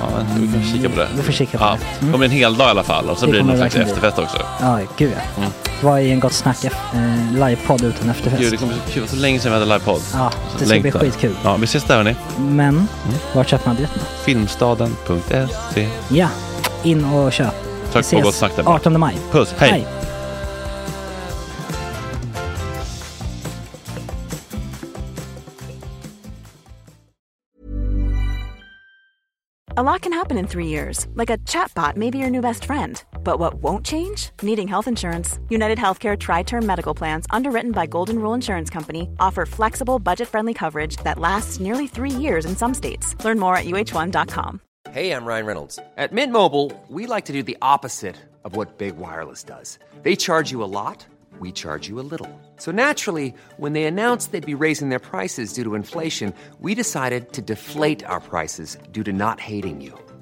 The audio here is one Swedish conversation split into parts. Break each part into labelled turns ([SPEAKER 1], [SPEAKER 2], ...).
[SPEAKER 1] Ja, vi kan kika på det.
[SPEAKER 2] Mm. Vi får kika på
[SPEAKER 1] Ja,
[SPEAKER 2] det. Mm.
[SPEAKER 1] det kommer bli en hel dag i alla fall och så
[SPEAKER 2] Det
[SPEAKER 1] blir det
[SPEAKER 2] kommer
[SPEAKER 1] någon slags
[SPEAKER 2] verkligen bli.
[SPEAKER 1] efterfest också.
[SPEAKER 2] Ja, gud ja.
[SPEAKER 1] Mm.
[SPEAKER 2] Vad är en gott snack eh, livepodd utan efterfest?
[SPEAKER 1] Gud, det kommer bli så kul. Det var så länge sedan vi hade livepodd.
[SPEAKER 2] Ja, det ska
[SPEAKER 1] Längtar. Mm.
[SPEAKER 2] bli skitkul.
[SPEAKER 1] Ja, vi ses där hörni.
[SPEAKER 2] Men, vart köper man biljetterna?
[SPEAKER 1] Filmstaden.se.
[SPEAKER 2] Ja, in och köp. Vi
[SPEAKER 1] Tack på gott snack där bara.
[SPEAKER 2] 18 maj.
[SPEAKER 1] Puss, hej!
[SPEAKER 2] Hej.
[SPEAKER 3] A lot can happen in three years, like a chatbot may be your new best friend. But what won't change? Needing health insurance. United Healthcare Tri Term Medical Plans, underwritten by Golden Rule Insurance Company, offer flexible, budget friendly coverage that lasts nearly three years in some states. Learn more at uh1.com.
[SPEAKER 4] Hey, I'm Ryan Reynolds. At Mint Mobile, we like to do the opposite of what Big Wireless does. They charge you a lot, we charge you a little. So naturally, when they announced they'd be raising their prices due to inflation, we decided to deflate our prices due to not hating you.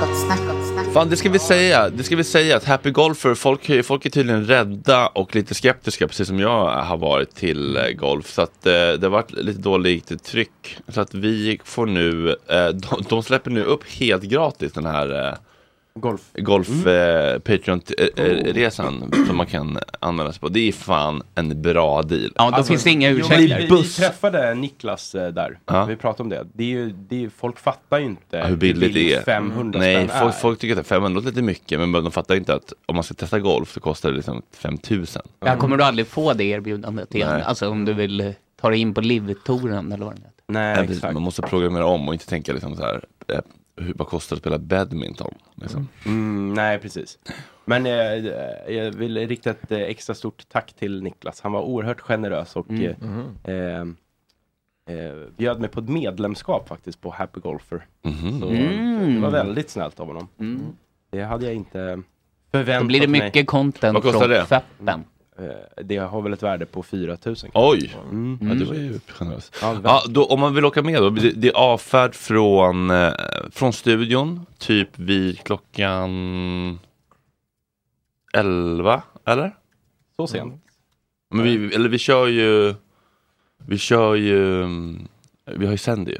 [SPEAKER 5] Gott snack, gott snack.
[SPEAKER 1] Fan, det ska vi säga. Det ska vi säga att Happy Golfer, folk, folk är tydligen rädda och lite skeptiska, precis som jag har varit till eh, golf. Så att eh, det har varit lite dåligt tryck. Så att vi får nu, eh, de, de släpper nu upp helt gratis den här eh,
[SPEAKER 6] Golf. Mm. Oh.
[SPEAKER 1] golf eh, Patreon-resan som man kan använda sig på. Det är fan en bra deal.
[SPEAKER 7] Ja, då Alltså, finns det inga
[SPEAKER 6] Vi,
[SPEAKER 7] ursäkter.
[SPEAKER 6] vi, vi träffade Niklas eh, där,
[SPEAKER 1] Ja.
[SPEAKER 6] vi pratade om det. det, är ju, det är, ju- folk fattar ju inte
[SPEAKER 1] Eh, Hur billigt det är.
[SPEAKER 6] 500
[SPEAKER 1] Nej,
[SPEAKER 6] spänn
[SPEAKER 1] folk,
[SPEAKER 6] är.
[SPEAKER 1] folk tycker att 500 låter lite mycket, men de fattar inte att om man ska testa golf så kostar det liksom 5000.
[SPEAKER 7] Jag kommer du aldrig få det erbjudandet igen.
[SPEAKER 1] Nej.
[SPEAKER 7] Alltså om du vill eh, ta dig in på livtouren eller vad det heter.
[SPEAKER 6] Nej,
[SPEAKER 1] Nej, precis.
[SPEAKER 6] exakt.
[SPEAKER 1] man måste programmera om och inte tänka liksom så här, eh, hur, vad kostar det att spela badminton? Liksom.
[SPEAKER 6] Mm, nej, precis. Men eh, jag vill rikta ett eh, extra stort tack till Niklas. Han var oerhört generös och
[SPEAKER 1] Mm.
[SPEAKER 6] eh, eh, eh, bjöd mig på ett medlemskap faktiskt på Happy Golfer.
[SPEAKER 1] Mhm.
[SPEAKER 6] Så,
[SPEAKER 7] Mm.
[SPEAKER 6] Det var väldigt snällt av honom. Det hade jag inte förväntat mig.
[SPEAKER 7] Då blir det mycket content
[SPEAKER 6] Vad kostar
[SPEAKER 7] från
[SPEAKER 6] det?
[SPEAKER 7] Fappen.
[SPEAKER 6] Eh, Det har väl ett värde på 4000.
[SPEAKER 1] Oj!
[SPEAKER 6] Mm.
[SPEAKER 1] Ja, det var ju generöst.
[SPEAKER 6] Ja,
[SPEAKER 1] Ja, då, om man vill åka med då, det, det är avfärd från, eh, från studion, typ vid klockan 11, eller?
[SPEAKER 6] Så sent.
[SPEAKER 1] Men vi, eller vi kör ju, vi kör ju, mm, vi har ju sänder ju.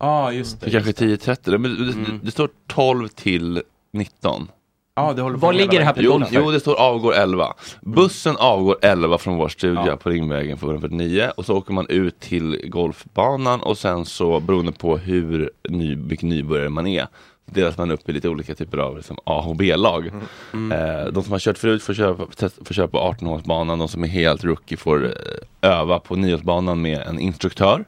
[SPEAKER 6] Ja, just det.
[SPEAKER 1] Så
[SPEAKER 6] just
[SPEAKER 1] kanske 10.30, men det, Mm. det, det står 12 till 19.
[SPEAKER 6] Ja, det håller på
[SPEAKER 7] Var
[SPEAKER 6] hela
[SPEAKER 7] ligger det här
[SPEAKER 6] vägen.
[SPEAKER 1] Jo,
[SPEAKER 7] Jonas,
[SPEAKER 1] jo, det står avgår 11. Bussen avgår 11 från vår stuga på Ringvägen 449 och så åker man ut till golfbanan och sen så beroende på hur ny, vilken nybörjare man är delas man upp i lite olika typer av liksom, A och B-lag. Eh, de som har kört förut får köra, på- test- får köra på 18-hålsbanan, de som är helt rookie får eh, öva på 9-hålsbanan med en instruktör.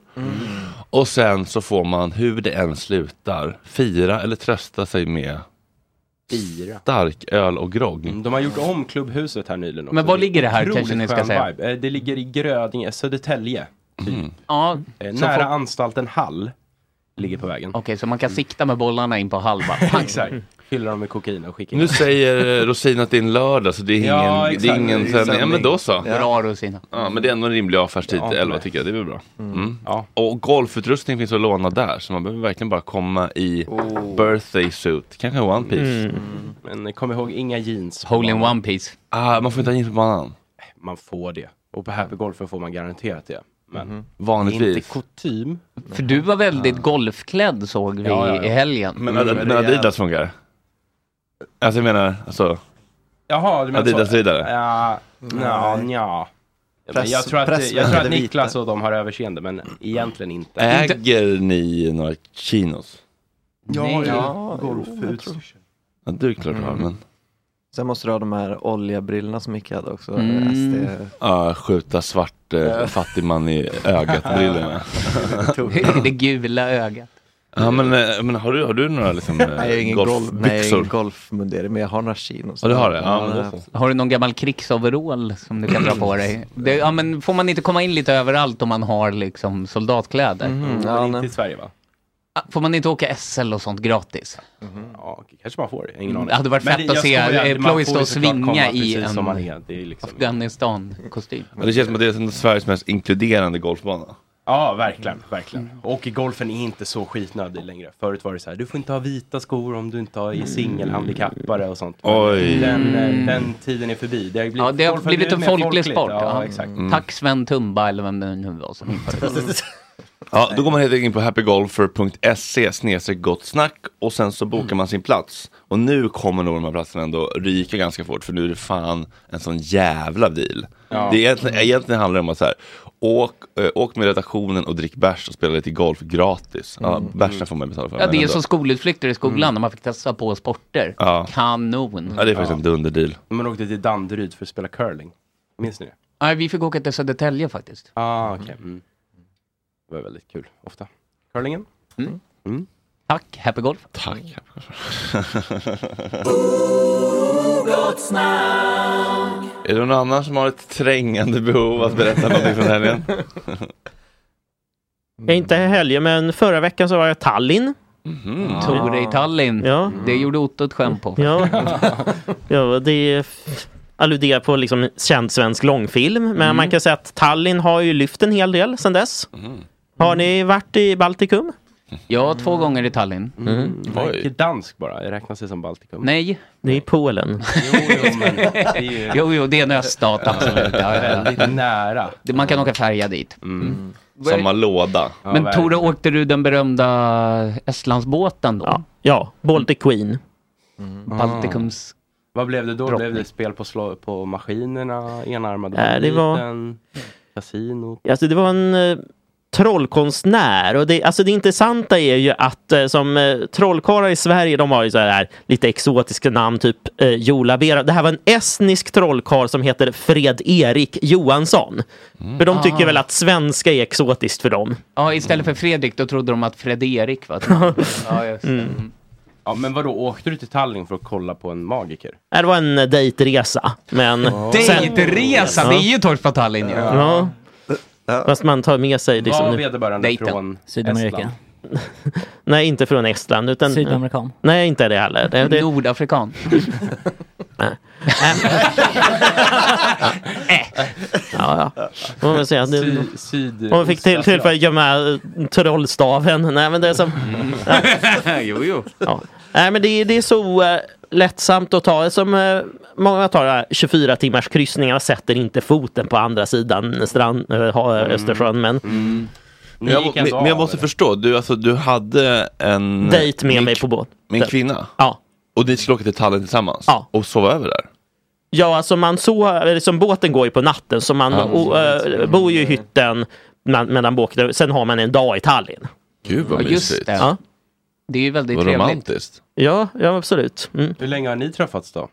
[SPEAKER 1] Och sen så får man, hur det än slutar, fira eller trösta sig med
[SPEAKER 6] Bira.
[SPEAKER 1] stark öl och grogg.
[SPEAKER 6] Mm, De har gjort om klubbhuset här nyligen också.
[SPEAKER 7] Men var ligger det här,
[SPEAKER 6] Otroligt
[SPEAKER 7] kanske ni ska
[SPEAKER 6] skön
[SPEAKER 7] säga?
[SPEAKER 6] vibe. Eh, Det ligger i Grödinge, Södertälje.
[SPEAKER 7] Ja,
[SPEAKER 6] Eh,
[SPEAKER 7] så
[SPEAKER 6] Nära
[SPEAKER 7] folk-
[SPEAKER 6] anstalten Hall. Ligger på vägen.
[SPEAKER 7] Okej, så man kan sikta med bollarna in på halva. Pang.
[SPEAKER 6] Exakt. Fyller dem med kokain och skickar in.
[SPEAKER 1] Nu säger eh, Rosin att det är en lördag så det är ingen,
[SPEAKER 6] Ja, exakt.
[SPEAKER 1] det är ingen
[SPEAKER 6] Det är
[SPEAKER 1] sändning. Ja,
[SPEAKER 6] sändning.
[SPEAKER 1] men då så.
[SPEAKER 7] Bra Rosina.
[SPEAKER 1] Ja, men det är ändå en rimlig avfärdstid
[SPEAKER 6] Ja,
[SPEAKER 1] till 11
[SPEAKER 6] nej.
[SPEAKER 1] tycker jag. Det är väl bra. Mm.
[SPEAKER 6] Ja.
[SPEAKER 1] Och golfutrustning finns att låna där så man behöver verkligen bara komma i
[SPEAKER 6] Oh.
[SPEAKER 1] birthday suit. Kanske one piece.
[SPEAKER 6] Mm. Men kom ihåg, inga jeans. på
[SPEAKER 7] Hole in
[SPEAKER 6] banan.
[SPEAKER 7] one piece.
[SPEAKER 1] Ah, man får inte ha jeans på banan.
[SPEAKER 6] Man får det. Och på Happy Golfer får man garanterat det. Men
[SPEAKER 7] Mhm.
[SPEAKER 6] inte
[SPEAKER 1] Vanligtvis.
[SPEAKER 6] kutym.
[SPEAKER 7] För du var väldigt golfklädd såg vi
[SPEAKER 6] Ja, ja, ja.
[SPEAKER 7] i helgen.
[SPEAKER 1] Men, Ad- men Adidas funkar? Alltså jag menar, alltså.
[SPEAKER 6] Jaha, du menar
[SPEAKER 1] Adidas-riddare?
[SPEAKER 6] Ja, nja, nja. Ja, men Jag
[SPEAKER 8] Press-
[SPEAKER 6] tror att,
[SPEAKER 8] press-
[SPEAKER 6] jag tror att
[SPEAKER 8] eller vita.
[SPEAKER 6] Niklas och de har överseende, men egentligen inte.
[SPEAKER 1] Äger ni några chinos?
[SPEAKER 6] Mm.
[SPEAKER 7] Nej.
[SPEAKER 8] ja,
[SPEAKER 1] Ja, du är klart du har, men.
[SPEAKER 8] Sen måste du ha de här oljebrillorna som Micke hade också.
[SPEAKER 7] Mm.
[SPEAKER 8] SD.
[SPEAKER 1] Ah, skjuta svart eh, fattigman i ögat-brillorna.
[SPEAKER 7] det gula ögat.
[SPEAKER 1] Ja, men, eh, men har du, har du några liksom, eh,
[SPEAKER 8] Nej, jag har ingen golf, nej, jag har
[SPEAKER 1] golfbyxor?
[SPEAKER 8] ingen golfmundering, men jag har några chinos.
[SPEAKER 1] Ja, du har det? Ja, men
[SPEAKER 8] det
[SPEAKER 1] då
[SPEAKER 8] har
[SPEAKER 1] så.
[SPEAKER 8] jag.
[SPEAKER 7] Har du någon gammal krigsoverall som du kan dra på dig? Det, ja, men får man inte komma in lite överallt om man har liksom soldatkläder?
[SPEAKER 8] Mm,
[SPEAKER 6] Men
[SPEAKER 8] ja,
[SPEAKER 6] inte i
[SPEAKER 8] nej.
[SPEAKER 6] Sverige va?
[SPEAKER 7] Ah, Får man inte åka SL och sånt gratis?
[SPEAKER 6] Ja, okej, kanske man får. Ingen aning.
[SPEAKER 7] Det hade varit
[SPEAKER 6] Men
[SPEAKER 7] fett
[SPEAKER 6] jag
[SPEAKER 7] att se,
[SPEAKER 6] skojar,
[SPEAKER 7] eh,
[SPEAKER 6] man
[SPEAKER 7] Ploy
[SPEAKER 6] får
[SPEAKER 7] stå
[SPEAKER 6] ju
[SPEAKER 7] och
[SPEAKER 6] såklart
[SPEAKER 7] svinga
[SPEAKER 6] komma
[SPEAKER 7] i
[SPEAKER 6] precis
[SPEAKER 7] en-
[SPEAKER 6] som man är. Det är liksom...
[SPEAKER 7] Afghanistan-kostym.
[SPEAKER 1] Ja, det känns som att det är en Sveriges mest inkluderande golfbana.
[SPEAKER 6] Ja, verkligen, verkligen. Och golfen är inte så skitnödig längre. Förut var det så här, du får inte ha vita skor om du inte har- är singelhandikappare och sånt. Men
[SPEAKER 1] Oj.
[SPEAKER 6] Den, eh, den tiden är förbi. Det har ju blivit,
[SPEAKER 7] Ja, det har
[SPEAKER 6] golf
[SPEAKER 7] blivit en
[SPEAKER 6] mer
[SPEAKER 7] folklig
[SPEAKER 6] folkligt.
[SPEAKER 7] sport,
[SPEAKER 6] Ja,
[SPEAKER 7] ja. Mm.
[SPEAKER 6] exakt.
[SPEAKER 7] Tack Sven Tumba eller vem det nu var som införde det.
[SPEAKER 1] Ja, då går man helt enkelt in på happygolfer.se snedstreck gott snack och sen så bokar man sin plats. Och nu kommer nog de här platserna ändå ryka ganska fort för nu är det fan en sån jävla deal. Det är egentligen, egentligen handlar det om att så här, åk, eh, åk med redaktionen och drick bärs och spela lite golf gratis. Ja, bärsen får man betala för.
[SPEAKER 7] Mm. Ja,
[SPEAKER 1] men
[SPEAKER 7] det är
[SPEAKER 1] ändå.
[SPEAKER 7] som skolutflykter i skolan när man fick testa på sporter.
[SPEAKER 1] Ja.
[SPEAKER 7] Kanon!
[SPEAKER 1] Ja, det är faktiskt en dunderdeal.
[SPEAKER 6] Man åkte till Danderyd för att spela curling. Minns ni det?
[SPEAKER 7] Nej, vi fick åka till Södertälje faktiskt.
[SPEAKER 6] Ah, okej. Mm. Det var väldigt kul, ofta. Curlingen?
[SPEAKER 7] Tack, Happy Golf.
[SPEAKER 1] Tack. Är det någon annan som har ett trängande behov att berätta någonting från helgen?
[SPEAKER 9] Inte helgen, men förra veckan så var jag i Tallinn.
[SPEAKER 1] Mhm.
[SPEAKER 7] Tore i Tallinn.
[SPEAKER 9] Ja.
[SPEAKER 7] Det gjorde Otto ett skämt på.
[SPEAKER 9] Ja, ja det alluderar på liksom känd svensk långfilm. Men
[SPEAKER 6] Mm.
[SPEAKER 9] man kan säga att Tallinn har ju lyft en hel del sedan dess. Har ni varit i Baltikum?
[SPEAKER 7] Ja, två gånger i Tallinn.
[SPEAKER 6] Mm. Jag är dansk bara, jag räknas det som Baltikum?
[SPEAKER 7] Nej,
[SPEAKER 9] Det är Polen.
[SPEAKER 6] Jo, jo, men det är ju
[SPEAKER 7] jo, jo, det är en öststat absolut. Ja, ja, ja.
[SPEAKER 6] väldigt nära.
[SPEAKER 7] Det- Man kan åka färja dit. Mm.
[SPEAKER 1] Samma låda.
[SPEAKER 6] Ja,
[SPEAKER 7] Men
[SPEAKER 6] verkligen.
[SPEAKER 7] Tore, åkte du den berömda Estlandsbåten då? Mm.
[SPEAKER 9] Ja, ja Baltic Queen.
[SPEAKER 7] Baltikums...
[SPEAKER 6] Vad blev det då?
[SPEAKER 7] Drottning.
[SPEAKER 6] Blev det spel på, slå, på maskinerna, enarmade
[SPEAKER 9] Nej, det var-
[SPEAKER 6] banditen, kasinot?
[SPEAKER 9] Alltså, det var en eh, trollkonstnär. Och det, alltså det intressanta är ju att eh, som eh, trollkarlar i Sverige, de har ju så här lite exotiska namn, typ eh, Jola Vera. Det här var en estnisk trollkarl som heter Fred-Erik Johansson. För de tycker
[SPEAKER 7] Ah.
[SPEAKER 9] väl att svenska är exotiskt för dem.
[SPEAKER 7] Ja, istället för Fredrik, då trodde de att Fredrik var ett namn. Ja, just det. Mm.
[SPEAKER 6] Ja, men vadå, åkte du till Tallinn för att kolla på en magiker?
[SPEAKER 9] Nej, Det var en eh, dejtresa. Men sen-
[SPEAKER 7] Dejtresa, det är ju Torsk på Tallinn ju.
[SPEAKER 9] Ja. Fast man tar med sig liksom...
[SPEAKER 6] Var
[SPEAKER 9] nu-
[SPEAKER 6] vederbörande
[SPEAKER 7] Dejten.
[SPEAKER 6] från
[SPEAKER 9] Sydamerika.
[SPEAKER 6] Estland?
[SPEAKER 2] Mm.
[SPEAKER 9] Nej, inte från Estland. Utan,
[SPEAKER 2] Sydamerikan.
[SPEAKER 9] Nej, inte det heller. Det, det... Nordafrikan.
[SPEAKER 7] Eh.
[SPEAKER 9] ja, ja. Man vill säga, det...
[SPEAKER 6] Sy- syd-
[SPEAKER 9] Hon fick till, tillfälle att gömma eh, trollstaven. Nej, men det är som...
[SPEAKER 7] jo, jo.
[SPEAKER 9] Ja. Nej, men det, det är så eh, lättsamt att ta. Som eh, många tar de här 24 timmars kryssningarna sätter inte foten på andra sidan strand, eh, ha- Östersjön. Men
[SPEAKER 1] Men jag, men, men jag måste förstå, du, alltså, du hade en
[SPEAKER 9] Dejt med mig på båten.
[SPEAKER 1] Med en kvinna?
[SPEAKER 9] Ja.
[SPEAKER 1] Och ni skulle åka till Tallinn tillsammans? Ja. Och sova över där?
[SPEAKER 9] Ja, alltså man så, eller liksom båten går ju på natten så man
[SPEAKER 1] Ja,
[SPEAKER 9] o, eh, bor ju i hytten med- medan båten, sen har man en dag i Tallinn.
[SPEAKER 1] Gud vad
[SPEAKER 9] Ja, just
[SPEAKER 1] mysigt.
[SPEAKER 9] det. Ja.
[SPEAKER 7] Det är ju väldigt
[SPEAKER 1] Vad
[SPEAKER 7] trevligt.
[SPEAKER 1] romantiskt.
[SPEAKER 9] Ja, ja absolut. Mm.
[SPEAKER 6] Hur länge har ni träffats då?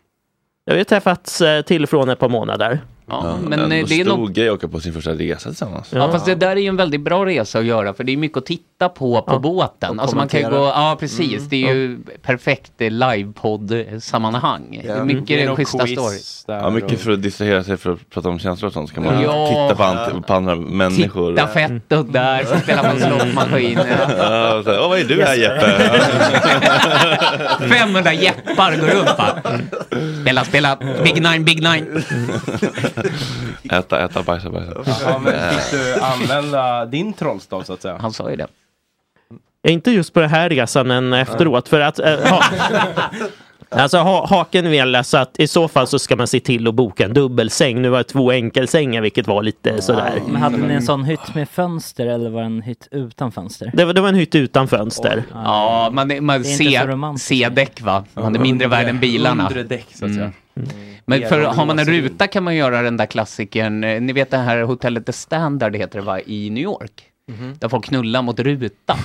[SPEAKER 9] Jag har ju träffats eh, till och från ett par månader.
[SPEAKER 7] Ja, men, eh,
[SPEAKER 1] ändå
[SPEAKER 7] det är
[SPEAKER 1] stor
[SPEAKER 7] nog-
[SPEAKER 1] grej att åka på sin första resa tillsammans.
[SPEAKER 7] Ja, fast det där är ju en väldigt bra resa att göra för det är mycket att titta på på båten.
[SPEAKER 1] Och
[SPEAKER 7] Alltså man kan ju gå,
[SPEAKER 1] kommentera.
[SPEAKER 7] ja precis,
[SPEAKER 1] Mm.
[SPEAKER 7] det är ju perfekt eh, livepodd-sammanhang. Det är Mycket mm. schyssta stories.
[SPEAKER 1] Ja, mycket för att distrahera sig för att prata om känslor och sånt. Så kan man
[SPEAKER 7] Ja.
[SPEAKER 1] titta på, ant- på andra människor.
[SPEAKER 7] Titta fettot där, så spelar man slottmaskin.
[SPEAKER 1] Ja, och så här, Åh, vad är du här Jeppe?
[SPEAKER 7] 500 jeppar går upp va? Spela, spela, big nine, big nine.
[SPEAKER 1] äta, äta, bajsa, bajsa.
[SPEAKER 6] Ja, men
[SPEAKER 1] Eh,
[SPEAKER 6] fick du använda din trollstav så att säga?
[SPEAKER 7] Han sa ju det.
[SPEAKER 9] Inte just på den här resan men efteråt. För att, eh, ha, alltså ha, haken vill alltså att i så fall så ska man se till att boka en dubbelsäng. Nu var det två enkelsängar vilket var lite sådär.
[SPEAKER 2] Men hade ni en sån hytt med fönster eller var det en hytt utan fönster?
[SPEAKER 9] Det var, det var en hytt utan fönster.
[SPEAKER 7] Ja, man, man
[SPEAKER 2] Det är inte så
[SPEAKER 7] ser C-däck va? Man är mindre värd än bilarna.
[SPEAKER 6] Undre däck
[SPEAKER 1] Mm.
[SPEAKER 6] så att säga.
[SPEAKER 7] Men för har man en ruta kan man göra den där klassikern, eh, ni vet det här hotellet The Standard heter det va, i New York?
[SPEAKER 6] Mhm.
[SPEAKER 7] Där folk knullar mot ruta.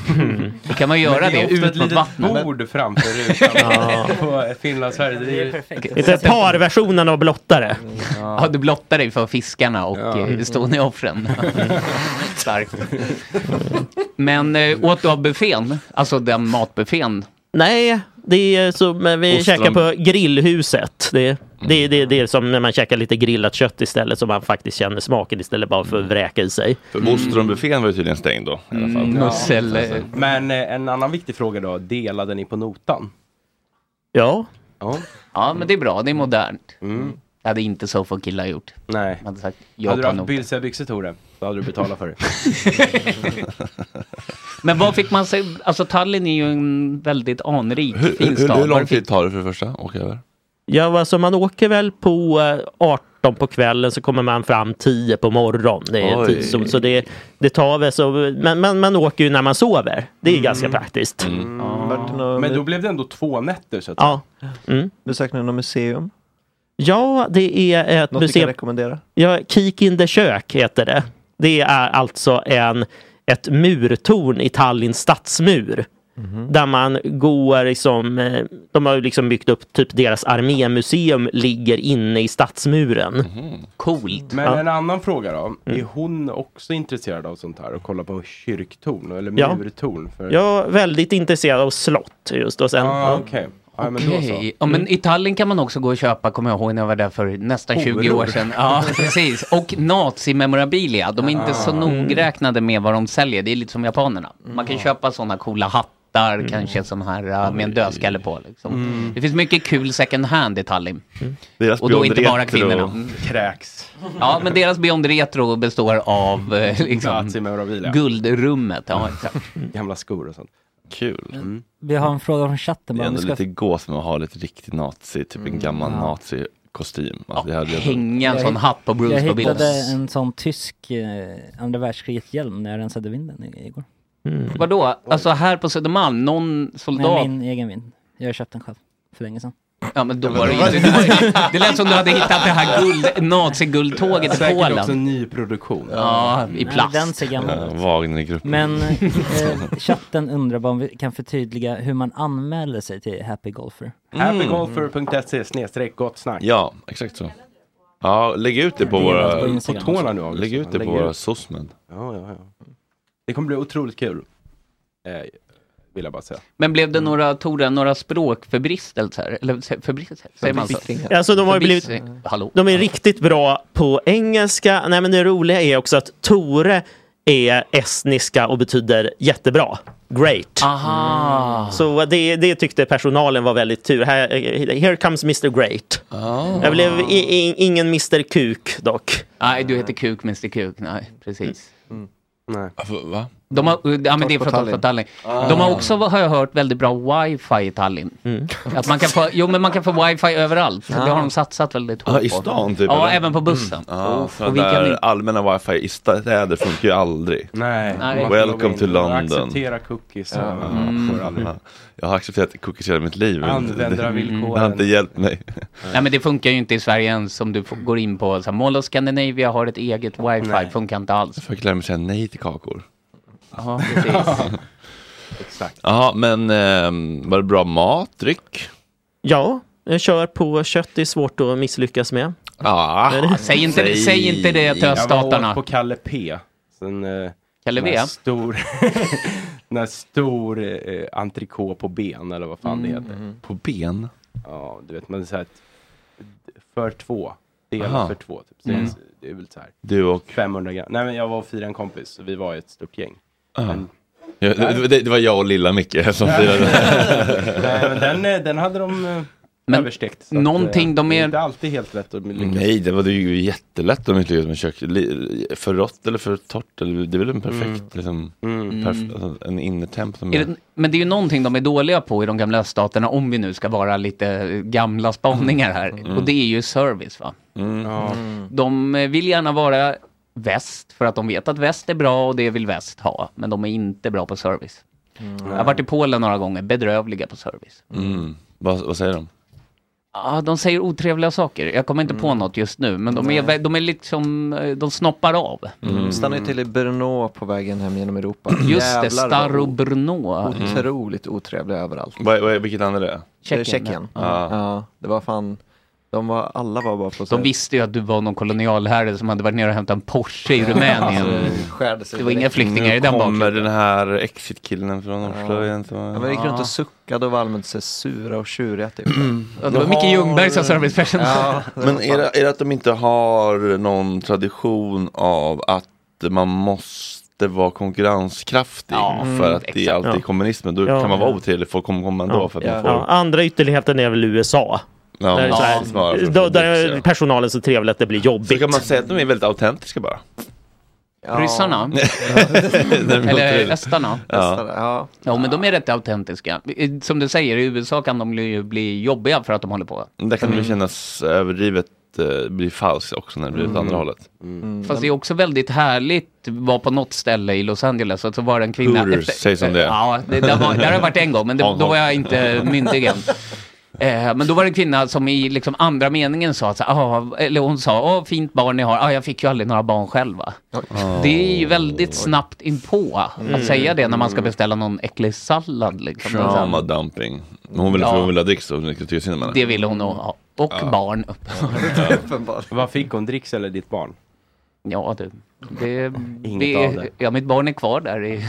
[SPEAKER 7] Då kan man göra det,
[SPEAKER 6] ofta ett
[SPEAKER 7] ut mot
[SPEAKER 6] litet
[SPEAKER 7] vattnet.
[SPEAKER 6] bord framför rutan på Finland, Sverige. Det är
[SPEAKER 9] Lite parversionen av blottare.
[SPEAKER 7] Ja, du blottar dig för fiskarna och eh, ja.
[SPEAKER 6] Mm.
[SPEAKER 7] Estonia-offren. Starkt. Men eh, åt du av buffén? Alltså den matbuffén?
[SPEAKER 9] Nej, det är som eh, vi
[SPEAKER 7] Ostron.
[SPEAKER 9] käkar på grillhuset. Det, det, det, det är som när man käkar lite grillat kött istället så man faktiskt känner smaken istället bara för att vräka i sig.
[SPEAKER 1] För ostronbuffén var ju tydligen stängd då. I alla fall.
[SPEAKER 9] Mm, mussel,
[SPEAKER 1] Ja.
[SPEAKER 9] eh.
[SPEAKER 6] Men eh, en annan viktig fråga då, delade ni på notan?
[SPEAKER 9] Ja.
[SPEAKER 6] Ja,
[SPEAKER 7] ja men det är bra, det är modernt. Det hade inte så få killar gjort.
[SPEAKER 6] Nej.
[SPEAKER 7] Man hade sagt, jag
[SPEAKER 6] Mm. Hade du
[SPEAKER 7] tar
[SPEAKER 6] haft
[SPEAKER 7] nog.
[SPEAKER 6] bylsiga byxor Tore, då hade du betalat för det.
[SPEAKER 7] Men vad fick man sig, alltså Tallinn är ju en väldigt anrik
[SPEAKER 1] Hur,
[SPEAKER 7] fin
[SPEAKER 1] hur,
[SPEAKER 7] stad.
[SPEAKER 1] hur lång
[SPEAKER 7] Vad fick-
[SPEAKER 1] tid tar det för det första att åka över?
[SPEAKER 9] Ja, alltså man åker väl på eh, 18 på kvällen så kommer man fram 10 på morgonen. Det är en
[SPEAKER 1] Oj.
[SPEAKER 9] tidszon, så det, det tar väl så, men man, man åker ju när man sover. Det är ganska praktiskt.
[SPEAKER 1] Mm.
[SPEAKER 6] Men då blev det ändå två nätter så att
[SPEAKER 9] Ja. Mm.
[SPEAKER 8] Besökte ni något museum?
[SPEAKER 9] Ja, det är ett
[SPEAKER 8] Något ni kan
[SPEAKER 9] museum.
[SPEAKER 8] rekommendera?
[SPEAKER 9] Ja, Kik in the kök heter det. Det är alltså en, ett murtorn i Tallinns stadsmur.
[SPEAKER 8] Mhm.
[SPEAKER 9] Där man går liksom, eh, de har ju liksom byggt upp typ deras armémuseum ligger inne i stadsmuren.
[SPEAKER 6] Mhm.
[SPEAKER 7] Coolt.
[SPEAKER 6] Men
[SPEAKER 9] Ja.
[SPEAKER 6] en annan fråga då.
[SPEAKER 1] Mm.
[SPEAKER 6] Är hon också intresserad av sånt här och kollar på kyrktorn eller
[SPEAKER 9] Ja.
[SPEAKER 6] murtorn? För...
[SPEAKER 9] Jag är väldigt intresserad av slott just och sen.
[SPEAKER 6] Ah, okej. Ja, men då så.
[SPEAKER 7] Okej. Ja, men
[SPEAKER 1] Mm.
[SPEAKER 7] i Tallinn kan man också gå och köpa, kommer jag ihåg när jag var där för nästan 20
[SPEAKER 6] Horor.
[SPEAKER 7] år sedan. Ja, precis. Och nazimemorabilia. De är inte så
[SPEAKER 6] Ah.
[SPEAKER 7] nogräknade med vad de säljer. Det är lite som japanerna. Man
[SPEAKER 1] Ah.
[SPEAKER 7] kan köpa sådana coola hattar,
[SPEAKER 1] Mm.
[SPEAKER 7] kanske sån här äh, med en dödskalle på. Liksom.
[SPEAKER 6] Mm.
[SPEAKER 7] Det finns mycket kul second hand i Tallinn.
[SPEAKER 1] Deras
[SPEAKER 7] Och då
[SPEAKER 1] Mm. Beyond
[SPEAKER 7] inte bara
[SPEAKER 1] Retro.
[SPEAKER 7] kvinnorna. Mm.
[SPEAKER 6] Kräks.
[SPEAKER 7] Ja, men deras Beyond Retro består av eh,
[SPEAKER 6] Nazimemorabilia.
[SPEAKER 7] liksom, guldrummet. Ja, exakt.
[SPEAKER 6] Gamla skor och sånt.
[SPEAKER 1] Kul.
[SPEAKER 2] Vi har en fråga från chatten.
[SPEAKER 1] Det är
[SPEAKER 2] Bara. om
[SPEAKER 1] ändå
[SPEAKER 2] vi ska-
[SPEAKER 1] lite gås med att ha lite riktig nazi, typ en gammal nazikostym. Alltså, det hade jag-
[SPEAKER 7] hänga en sån hatt på Bruce på
[SPEAKER 2] Jag
[SPEAKER 7] bilden.
[SPEAKER 2] hittade en sån tysk eh, andra världskriget-hjälm när jag rensade vinden i- igår.
[SPEAKER 7] Vadå? Alltså här på Södermalm, någon
[SPEAKER 2] Med
[SPEAKER 7] soldat?
[SPEAKER 2] min egen vind. Jag har köpt den själv för länge sedan.
[SPEAKER 7] Ja, men då var det inte... Det lät som du hade hittat det här guld, naziguldtåget i
[SPEAKER 6] Säkert
[SPEAKER 7] Polen.
[SPEAKER 6] också en ny produktion.
[SPEAKER 7] Ja, i plast.
[SPEAKER 2] den ser gammal
[SPEAKER 1] Ja, Wagnergruppen.
[SPEAKER 2] Men eh, chatten undrar bara om vi kan förtydliga hur man anmäler sig till Happy Golfer.
[SPEAKER 7] Mm.
[SPEAKER 6] Happygolfer.se snedstreck gott snack.
[SPEAKER 1] Ja, exakt så. Ja, lägg ut det på
[SPEAKER 6] Det är
[SPEAKER 1] våra...
[SPEAKER 6] på Instagram På tårna nu, August.
[SPEAKER 1] Lägg ut det
[SPEAKER 6] Lägg
[SPEAKER 1] på våra
[SPEAKER 6] ut.
[SPEAKER 1] sosmen.
[SPEAKER 6] Ja, ja, ja. Det kommer bli otroligt kul. Eh, vill jag bara säga.
[SPEAKER 7] Men blev det några, tog det några språkförbristelser? Eller se- förbristelser? Säger man så?
[SPEAKER 6] Förbittringar.
[SPEAKER 9] Alltså de har ju blivit,
[SPEAKER 7] Förbistring. Hallå?
[SPEAKER 9] de är riktigt bra på engelska. Nej men det roliga är också att Tore är estniska och betyder jättebra. Great.
[SPEAKER 1] Ah.
[SPEAKER 7] Aha.
[SPEAKER 9] Så det, det tyckte personalen var väldigt tur. Här, here comes Mr Great.
[SPEAKER 1] Ah.
[SPEAKER 9] Jag blev i, i, ingen Mr Kuk dock.
[SPEAKER 7] Nej, du heter Kuk, Mr Kuk. Nej, precis.
[SPEAKER 6] Nej.
[SPEAKER 1] Va?
[SPEAKER 7] De har, ja, men det är
[SPEAKER 1] på
[SPEAKER 7] från Torsk på
[SPEAKER 1] Tallinn.
[SPEAKER 7] Tallinn.
[SPEAKER 1] Ah. Mm.
[SPEAKER 7] De har också, har jag hört, väldigt bra wifi i Tallinn. Att man kan få, jo, men man kan få wifi överallt. Det har de satsat väldigt hårt
[SPEAKER 1] Ah. Ja, i
[SPEAKER 7] på.
[SPEAKER 1] stan typ?
[SPEAKER 7] Ja,
[SPEAKER 1] eller?
[SPEAKER 7] även på bussen.
[SPEAKER 1] Mm. Ja,
[SPEAKER 7] Och-
[SPEAKER 1] för
[SPEAKER 7] och vi kan
[SPEAKER 1] där
[SPEAKER 7] inte-
[SPEAKER 1] allmänna wifi i städer funkar ju aldrig.
[SPEAKER 6] Nej. Nej.
[SPEAKER 1] Welcome to
[SPEAKER 6] Man
[SPEAKER 1] London.
[SPEAKER 6] accepterar cookies.
[SPEAKER 1] Ja.
[SPEAKER 6] Mm. Får aldrig.
[SPEAKER 1] Ja. Jag har accepterat cookies hela mitt liv. men
[SPEAKER 6] Användarvillkoren.
[SPEAKER 1] Mm. Det har inte hjälpt mig.
[SPEAKER 7] Nej men det funkar ju inte i Sverige ens om du får, går in på så här, Mall of Scandinavia har ett eget wifi,
[SPEAKER 1] Nej.
[SPEAKER 7] funkar inte alls.
[SPEAKER 1] Jag fick lära mig säga nej till kakor.
[SPEAKER 7] Ja, precis.
[SPEAKER 6] Exakt.
[SPEAKER 1] Ja, men ehm, var det bra mat, dryck?
[SPEAKER 9] Ja, jag kör på kött. Det är svårt att misslyckas med.
[SPEAKER 1] Ja,
[SPEAKER 9] Är det- Säg inte- säg inte det till
[SPEAKER 6] Jag
[SPEAKER 9] öststaterna.
[SPEAKER 6] var åt på Kalle P. Sen, eh,
[SPEAKER 7] Kalle
[SPEAKER 6] den här
[SPEAKER 7] V?
[SPEAKER 6] Stor, den här stor eh, entrecote på ben eller vad fan det
[SPEAKER 1] Mm.
[SPEAKER 6] heter.
[SPEAKER 1] På ben?
[SPEAKER 6] Ja, du vet, men så här, ett- för två. Del
[SPEAKER 1] Aha.
[SPEAKER 6] för två. Typ. Så
[SPEAKER 1] Mm.
[SPEAKER 6] det, är, det är väl så här.
[SPEAKER 1] Du och...
[SPEAKER 6] 500 gram. Nej, men jag var och firade en kompis. Så vi var ett stort gäng.
[SPEAKER 1] Ja. Ja, det, det, det var jag och lilla Micke som
[SPEAKER 6] Nej,
[SPEAKER 1] firade.
[SPEAKER 6] men den, eh, den hade de eh, överstekt. så att, eh,
[SPEAKER 7] någonting de
[SPEAKER 6] det
[SPEAKER 7] är-
[SPEAKER 6] inte alltid helt lätt att lyckas
[SPEAKER 1] Nej, det var det är ju jättelätt om inte lyckas med kök. Li- För rått eller för torrt, eller, det är väl en perfekt,
[SPEAKER 7] Mm.
[SPEAKER 1] liksom,
[SPEAKER 7] Mm.
[SPEAKER 1] perf- alltså, en innertemp. Som
[SPEAKER 8] Mm.
[SPEAKER 7] Är det, men det är ju någonting de är dåliga på i de gamla öststaterna, om vi nu ska vara lite gamla spaningar här.
[SPEAKER 1] Mm.
[SPEAKER 7] Och det är ju service va.
[SPEAKER 8] Mm.
[SPEAKER 6] Ja.
[SPEAKER 7] De eh, vill gärna vara väst, för att de vet att väst är bra och det vill väst ha. Men de är inte bra på service.
[SPEAKER 8] Mm.
[SPEAKER 7] Jag har varit i Polen några gånger, bedrövliga på service.
[SPEAKER 1] Mm. Vad, vad säger de?
[SPEAKER 7] Ja, de säger otrevliga saker. Jag kommer inte
[SPEAKER 8] Mm.
[SPEAKER 7] på något just nu, men de är, de är liksom, eh, de snoppar av.
[SPEAKER 8] Mm. Stannar ju till i Brno på vägen hem genom Europa.
[SPEAKER 7] Just det,
[SPEAKER 8] Jävlar vad
[SPEAKER 7] Staro
[SPEAKER 8] o-
[SPEAKER 7] Brno.
[SPEAKER 8] Otroligt otrevliga överallt.
[SPEAKER 1] Vad, vad, vilket land är det? Ah.
[SPEAKER 8] Det är Eh, Tjeckien.
[SPEAKER 1] Ja.
[SPEAKER 8] Ja, det var fan, de var, alla var bara på
[SPEAKER 7] De visste ju att du var någon kolonialherre som hade varit nere och hämtat en Porsche i Rumänien.
[SPEAKER 8] Alltså,
[SPEAKER 7] det var inga flyktingar i den
[SPEAKER 1] Nu
[SPEAKER 7] bakgrunden.
[SPEAKER 1] kommer den här exit-killen från avslöjaren. som-
[SPEAKER 8] Ja, men gick runt och suckade och var allmänt så sura och tjuriga typ.
[SPEAKER 7] Ja, det var Micke Ljungberg som serviceperson.
[SPEAKER 8] Ja, det var
[SPEAKER 1] Men
[SPEAKER 8] fan-
[SPEAKER 1] är det, är det att de inte har någon tradition av att man måste vara konkurrenskraftig
[SPEAKER 9] Ja,
[SPEAKER 1] för
[SPEAKER 9] mm,
[SPEAKER 1] att det
[SPEAKER 9] exakt.
[SPEAKER 1] är alltid
[SPEAKER 9] Ja.
[SPEAKER 1] kommunismen. Då
[SPEAKER 9] Ja.
[SPEAKER 1] kan man vara otrevlig, folk kommer komma ändå för att man får...
[SPEAKER 9] Ja, andra ytterligheten är väl USA.
[SPEAKER 1] Ja,
[SPEAKER 9] där, är så
[SPEAKER 1] ja, snarare
[SPEAKER 9] här,
[SPEAKER 1] för
[SPEAKER 9] då,
[SPEAKER 1] att
[SPEAKER 9] där
[SPEAKER 1] få dricks,
[SPEAKER 9] är
[SPEAKER 1] ja.
[SPEAKER 9] personalen så trevlig att det blir jobbigt.
[SPEAKER 1] Så kan man säga att de är väldigt autentiska bara.
[SPEAKER 7] Ryssarna?
[SPEAKER 1] de
[SPEAKER 7] Eller
[SPEAKER 1] otrevliga.
[SPEAKER 7] östarna?
[SPEAKER 1] Ja.
[SPEAKER 8] Ja.
[SPEAKER 7] ja, men de är rätt autentiska. Eh, Som du säger, i USA kan de ju bli jobbiga för att de håller på.
[SPEAKER 9] alltså-
[SPEAKER 1] Där kan det
[SPEAKER 9] Mm.
[SPEAKER 1] väl kännas överdrivet, eh, bli falskt också när det blir åt
[SPEAKER 9] Mm.
[SPEAKER 1] andra hållet.
[SPEAKER 7] Fast det är också väldigt härligt att vara på något ställe i Los Angeles och så var det en kvinna.
[SPEAKER 1] Hooters, säg som det är.
[SPEAKER 7] Ja, det, där, var, där har jag varit en gång, men det, då var jag inte myndig än. Eh, men då var det en kvinna som i liksom andra meningen sa, att så, här, ah, eller hon sa, ah, fint barn ni har, ah, jag fick ju aldrig några barn själv va? Det är ju väldigt snabbt inpå att säga det när man ska beställa någon äcklig sallad. Liksom. Och så här,
[SPEAKER 1] Trauma dumping. Men Hon ville
[SPEAKER 7] Ja.
[SPEAKER 1] för hon ville ha dricks och hon tyckte synd om henne.
[SPEAKER 7] Det ville hon nog ha. Och barn.
[SPEAKER 6] Vad fick hon? Dricks eller ditt barn?
[SPEAKER 7] Ja, du. Det,
[SPEAKER 6] av det.
[SPEAKER 7] det, ja, mitt barn är kvar där i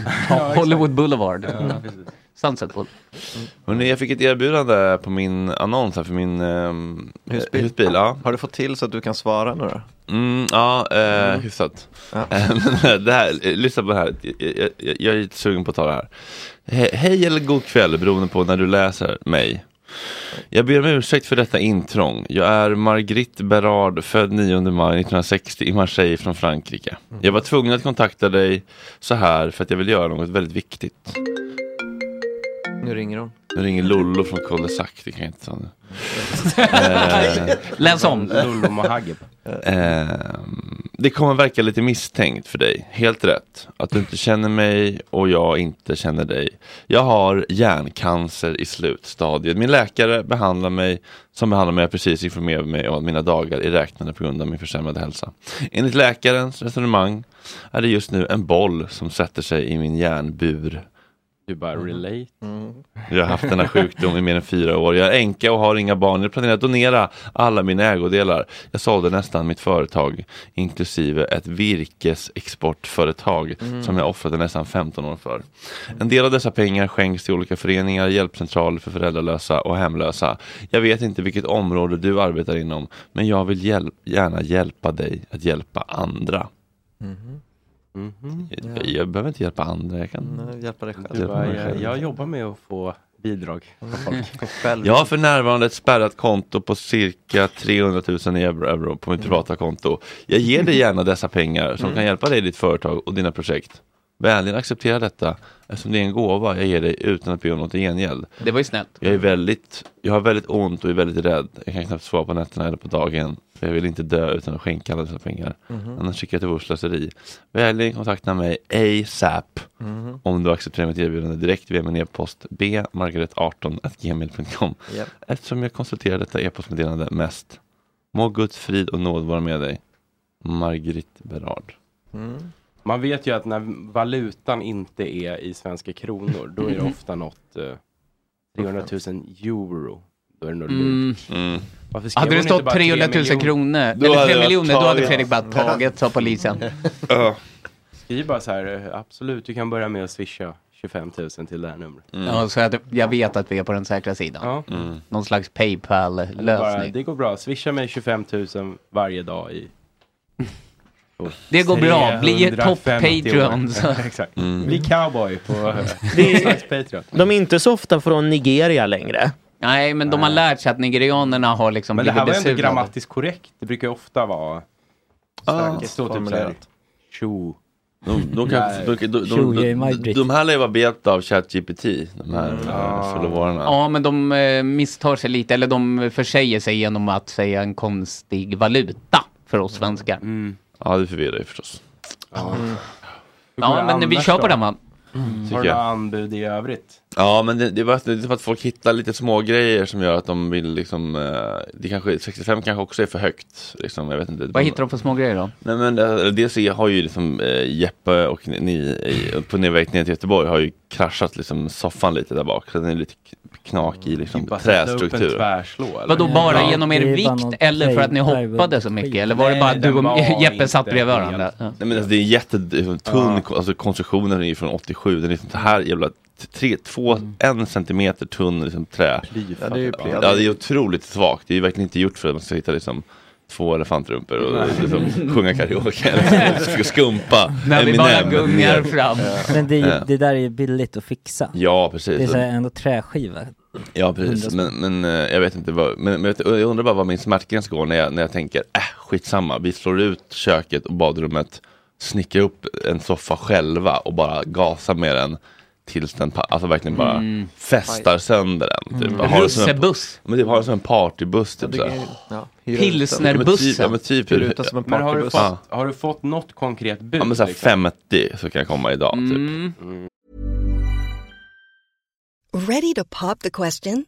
[SPEAKER 7] Hollywood Boulevard.
[SPEAKER 6] Ja, precis.
[SPEAKER 7] Sunset Boulevard.
[SPEAKER 1] Hörrni, jag fick ett erbjudande på min annons här för min ehm,
[SPEAKER 8] Husbil.
[SPEAKER 1] husbil ja.
[SPEAKER 8] Har du fått till så att du kan svara nu då?
[SPEAKER 1] Mm, ja, eh, hyfsat. Men det här, eh, lyssna på det här. Jag, jag- jag, jag är lite sugen på att ta det här. He, hej eller god kväll beroende på när du läser mig. Jag ber om ursäkt för detta intrång. Jag är Marguerite Berard, född 9 maj 1960 i Marseille från Frankrike. Jag var tvungen att kontakta dig så här för att jag vill göra något väldigt viktigt.
[SPEAKER 8] Nu ringer hon.
[SPEAKER 1] Nu ringer Lollo från Kollesak, det kan jag inte ta nu. Eh,
[SPEAKER 7] Läs om. Lollo
[SPEAKER 6] Mohageb.
[SPEAKER 1] Ehm, det kommer verka lite misstänkt för dig, helt rätt. Att du inte känner mig och jag inte känner dig. Jag har hjärncancer i slutstadiet. Min läkare behandlar mig, som behandlar mig, har precis informerat mig om att mina dagar är räknade på grund av min försämrade hälsa. Enligt läkarens resonemang är det just nu en boll som sätter sig i min hjärnbur.
[SPEAKER 6] Du bara relate.
[SPEAKER 1] Jag har haft denna sjukdom i mer än fyra år. Jag är änka och har inga barn. Jag planerar att donera alla mina ägodelar. Jag sålde nästan mitt företag, inklusive ett virkesexportföretag
[SPEAKER 6] Mm.
[SPEAKER 1] som jag offrade nästan 15 år för. En del av dessa pengar skänks till olika föreningar, hjälpcentraler för föräldralösa och hemlösa. Jag vet inte vilket område du arbetar inom, men jag vill hjälp, gärna hjälpa dig att hjälpa andra.
[SPEAKER 6] Mhm.
[SPEAKER 1] Jag, jag behöver inte hjälpa andra, jag kan
[SPEAKER 8] hjälpa dig själv.
[SPEAKER 6] Du
[SPEAKER 1] Hjälpa
[SPEAKER 6] bara,
[SPEAKER 1] mig
[SPEAKER 6] jag,
[SPEAKER 1] själv.
[SPEAKER 6] eh, jag jobbar med att få bidrag från folk.
[SPEAKER 1] Jag har för närvarande ett spärrat konto på cirka 300 000 euro, euro på mitt privata konto. Jag ger dig gärna dessa pengar som
[SPEAKER 6] Mm.
[SPEAKER 1] kan hjälpa dig i ditt företag och dina projekt. Vänligen acceptera detta eftersom det är en gåva jag ger dig utan att be om något i gengäld.
[SPEAKER 7] Det var ju snällt.
[SPEAKER 1] Jag är väldigt, jag har väldigt ont och är väldigt rädd. Jag kan knappt sova på nätterna eller på dagen. För jag vill inte dö utan att skänka alla dessa pengar.
[SPEAKER 6] Mhm.
[SPEAKER 1] Annars tycker jag att det vore slöseri. Vänligen kontakta mig ASAP
[SPEAKER 6] Mhm.
[SPEAKER 1] om du accepterar mitt erbjudande direkt via min e-post bmargaret18gmail.com.
[SPEAKER 6] Japp.
[SPEAKER 1] Eftersom jag konsulterar detta e-postmeddelande mest. Må Guds frid och nåd vara med dig. Margrit Berard.
[SPEAKER 6] Mm. Man vet ju att när valutan inte är i svenska kronor, då
[SPEAKER 7] Mm.
[SPEAKER 6] är det ofta något eh, 300 000 euro. Då är det nog
[SPEAKER 7] Mm.
[SPEAKER 6] lurt.
[SPEAKER 1] Mm.
[SPEAKER 6] Varför skrev
[SPEAKER 7] Hade det
[SPEAKER 6] hon inte
[SPEAKER 7] stått
[SPEAKER 6] bara
[SPEAKER 7] 300 000
[SPEAKER 6] miljoner?
[SPEAKER 7] kronor, eller 3 miljoner, då hade Fredrik bara tagit, sa polisen.
[SPEAKER 6] Skriv bara så här, eh, absolut, du kan börja med att swisha 25 000 till det här numret.
[SPEAKER 7] Ja, så jag, jag vet att vi är på den säkra sidan.
[SPEAKER 6] Mm.
[SPEAKER 7] Någon slags
[SPEAKER 6] Eller bara,
[SPEAKER 7] Paypal-lösning.
[SPEAKER 6] Det går bra, swisha mig 25 000 varje dag i...
[SPEAKER 7] Det går bra. Bli ett topp
[SPEAKER 6] 350 år.
[SPEAKER 7] Patreon, så.
[SPEAKER 6] Exakt.
[SPEAKER 7] Mm.
[SPEAKER 6] Bli cowboy på
[SPEAKER 9] Det-
[SPEAKER 6] slags Patreon.
[SPEAKER 9] De är inte så ofta från Nigeria längre.
[SPEAKER 7] Nej, men de har lärt sig att nigerianerna har liksom
[SPEAKER 6] Men det här
[SPEAKER 7] blivit
[SPEAKER 6] var ändå
[SPEAKER 7] besudlade.
[SPEAKER 6] grammatiskt korrekt. Det brukar ju ofta vara...
[SPEAKER 1] Ah.
[SPEAKER 6] Det står typ så här,
[SPEAKER 1] Formulerat.
[SPEAKER 6] Tjo.
[SPEAKER 1] De, de, kan,
[SPEAKER 6] Nej.
[SPEAKER 1] de, de, de,
[SPEAKER 6] Tjo, jag är
[SPEAKER 1] de, de,
[SPEAKER 6] Margrit.
[SPEAKER 1] de här lär ju vara behjälpta av ChatGPT, de här
[SPEAKER 6] Ah.
[SPEAKER 1] mm. förlorarna.
[SPEAKER 7] Ja, men de eh, misstar sig lite, eller de försäger sig genom att säga en konstig valuta för oss svenskar.
[SPEAKER 1] Ja, det förvirrar ju förstås.
[SPEAKER 6] Hur går
[SPEAKER 7] Ja,
[SPEAKER 6] det
[SPEAKER 7] men vi
[SPEAKER 6] annars
[SPEAKER 7] kör på
[SPEAKER 6] då?
[SPEAKER 7] den va?
[SPEAKER 6] Har
[SPEAKER 1] Tycker
[SPEAKER 6] du
[SPEAKER 1] jag.
[SPEAKER 6] några anbud i övrigt?
[SPEAKER 1] Ja, men det, det, är bara, det är som att folk hittar lite små grejer som gör att de vill liksom, eh, det kanske, 65 kanske också är för högt. Liksom, jag vet inte.
[SPEAKER 7] Vad hittar de för små grejer då?
[SPEAKER 1] Nej men eh, dels är- har ju liksom eh, Jeppe och ni- ni eh, på nedväg ner till Göteborg har ju kraschat liksom soffan lite där bak. Så den är lite k- knakig liksom
[SPEAKER 6] Mm, typ Bara sätta upp en
[SPEAKER 1] trästruktur.
[SPEAKER 6] tvärslå, eller?
[SPEAKER 7] Vadå bara
[SPEAKER 1] Ja.
[SPEAKER 7] genom er
[SPEAKER 6] Det är bara
[SPEAKER 7] vikt
[SPEAKER 6] någon
[SPEAKER 7] eller för att ni
[SPEAKER 6] play-
[SPEAKER 7] hoppade så mycket? Eller var det bara du och Jeppe satt bredvid varandra? Ja.
[SPEAKER 1] Nej men alltså, det är jätte, liksom, tunn,
[SPEAKER 7] Ja.
[SPEAKER 1] ko- alltså konstruktionen är ju från 87, den är liksom så här jävla t- tre, två,
[SPEAKER 7] Mm.
[SPEAKER 1] en centimeter tunn liksom, trä.
[SPEAKER 8] Ja, det är ju plyf.
[SPEAKER 1] Ja, det är otroligt svagt, det är ju verkligen inte gjort för att man ska hitta liksom två elefantrumpor och liksom, sjunga karaoke eller sk- skumpa
[SPEAKER 7] När vi bara
[SPEAKER 1] Eminem.
[SPEAKER 7] gungar fram.
[SPEAKER 2] Men det, är
[SPEAKER 1] Ja.
[SPEAKER 2] ju- det där är ju billigt att fixa.
[SPEAKER 1] Ja, precis.
[SPEAKER 2] Det är så här ändå träskiva.
[SPEAKER 1] Ja precis,
[SPEAKER 2] Hundra
[SPEAKER 1] men, men eh, jag vet inte vad, men, men jag vet- jag undrar bara vad min smärtgräns går när jag, när jag tänker, äh skitsamma, vi slår ut köket och badrummet, snickrar upp en soffa själva och bara gasar med den tills den, pa- alltså verkligen bara
[SPEAKER 7] Mm.
[SPEAKER 1] fästar sönder den. Typ.
[SPEAKER 7] Mm.
[SPEAKER 1] Har det som en-
[SPEAKER 7] Russebuss.
[SPEAKER 1] Men typ har det som en partybuss typ så här. Ja, men typ, ja, men typ
[SPEAKER 6] Men har du,
[SPEAKER 1] Ja.
[SPEAKER 6] fått, har du fått något konkret bud?
[SPEAKER 1] Ja men såhär
[SPEAKER 6] liksom?
[SPEAKER 1] 50 så kan jag komma idag
[SPEAKER 7] Mm.
[SPEAKER 1] typ.
[SPEAKER 10] Ready to pop the question?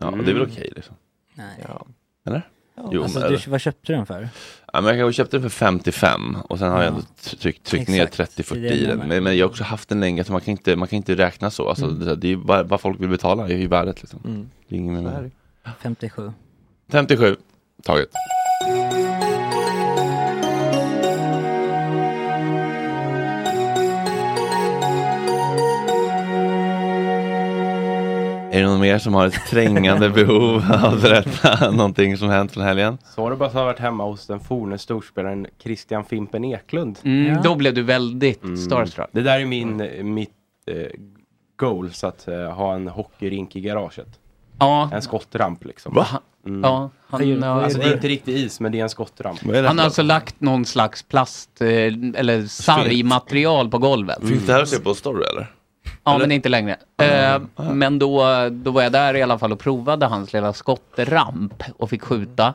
[SPEAKER 1] Ja, och det är väl okej liksom.
[SPEAKER 2] Nej.
[SPEAKER 1] Eller? Jo,
[SPEAKER 2] alltså,
[SPEAKER 1] men-
[SPEAKER 2] du, vad köpte du den för?
[SPEAKER 1] Ja, men jag kanske köpte den för 55 och sen har jag ändå tryckt, tryckt ner
[SPEAKER 2] Exakt.
[SPEAKER 1] 30-40
[SPEAKER 2] Det är
[SPEAKER 1] i
[SPEAKER 2] det
[SPEAKER 1] den.
[SPEAKER 2] man-
[SPEAKER 1] Men, men jag har också haft den länge, så man kan inte, man kan inte räkna så. Alltså,
[SPEAKER 2] Mm.
[SPEAKER 1] det, det är ju bara, vad folk vill betala, är ju värdet liksom. Det är ingen med det.
[SPEAKER 2] 57.
[SPEAKER 1] 57, taget. Är det någon mer som har ett trängande behov av att berätta någonting som hänt från helgen?
[SPEAKER 6] Så har du bara varit hemma hos den forne storspelaren Christian Fimpen Eklund.
[SPEAKER 7] Mm, Ja. då blev du väldigt starstruck.
[SPEAKER 6] Det där är min, mitt eh, goal, så att eh, ha en hockeyrink i garaget.
[SPEAKER 7] Ja.
[SPEAKER 6] En skottramp liksom.
[SPEAKER 7] Va? Ja, han
[SPEAKER 6] han,
[SPEAKER 7] har-
[SPEAKER 6] alltså det är inte riktigt is, men det är en skottramp.
[SPEAKER 7] Han har alltså lagt någon slags plast eh, eller sargmaterial på golvet.
[SPEAKER 1] Finns det här att se på story eller?
[SPEAKER 7] Ja,
[SPEAKER 1] Eller?
[SPEAKER 7] men inte längre. Eh, men då, då var jag där i alla fall och provade hans lilla skottramp och fick skjuta.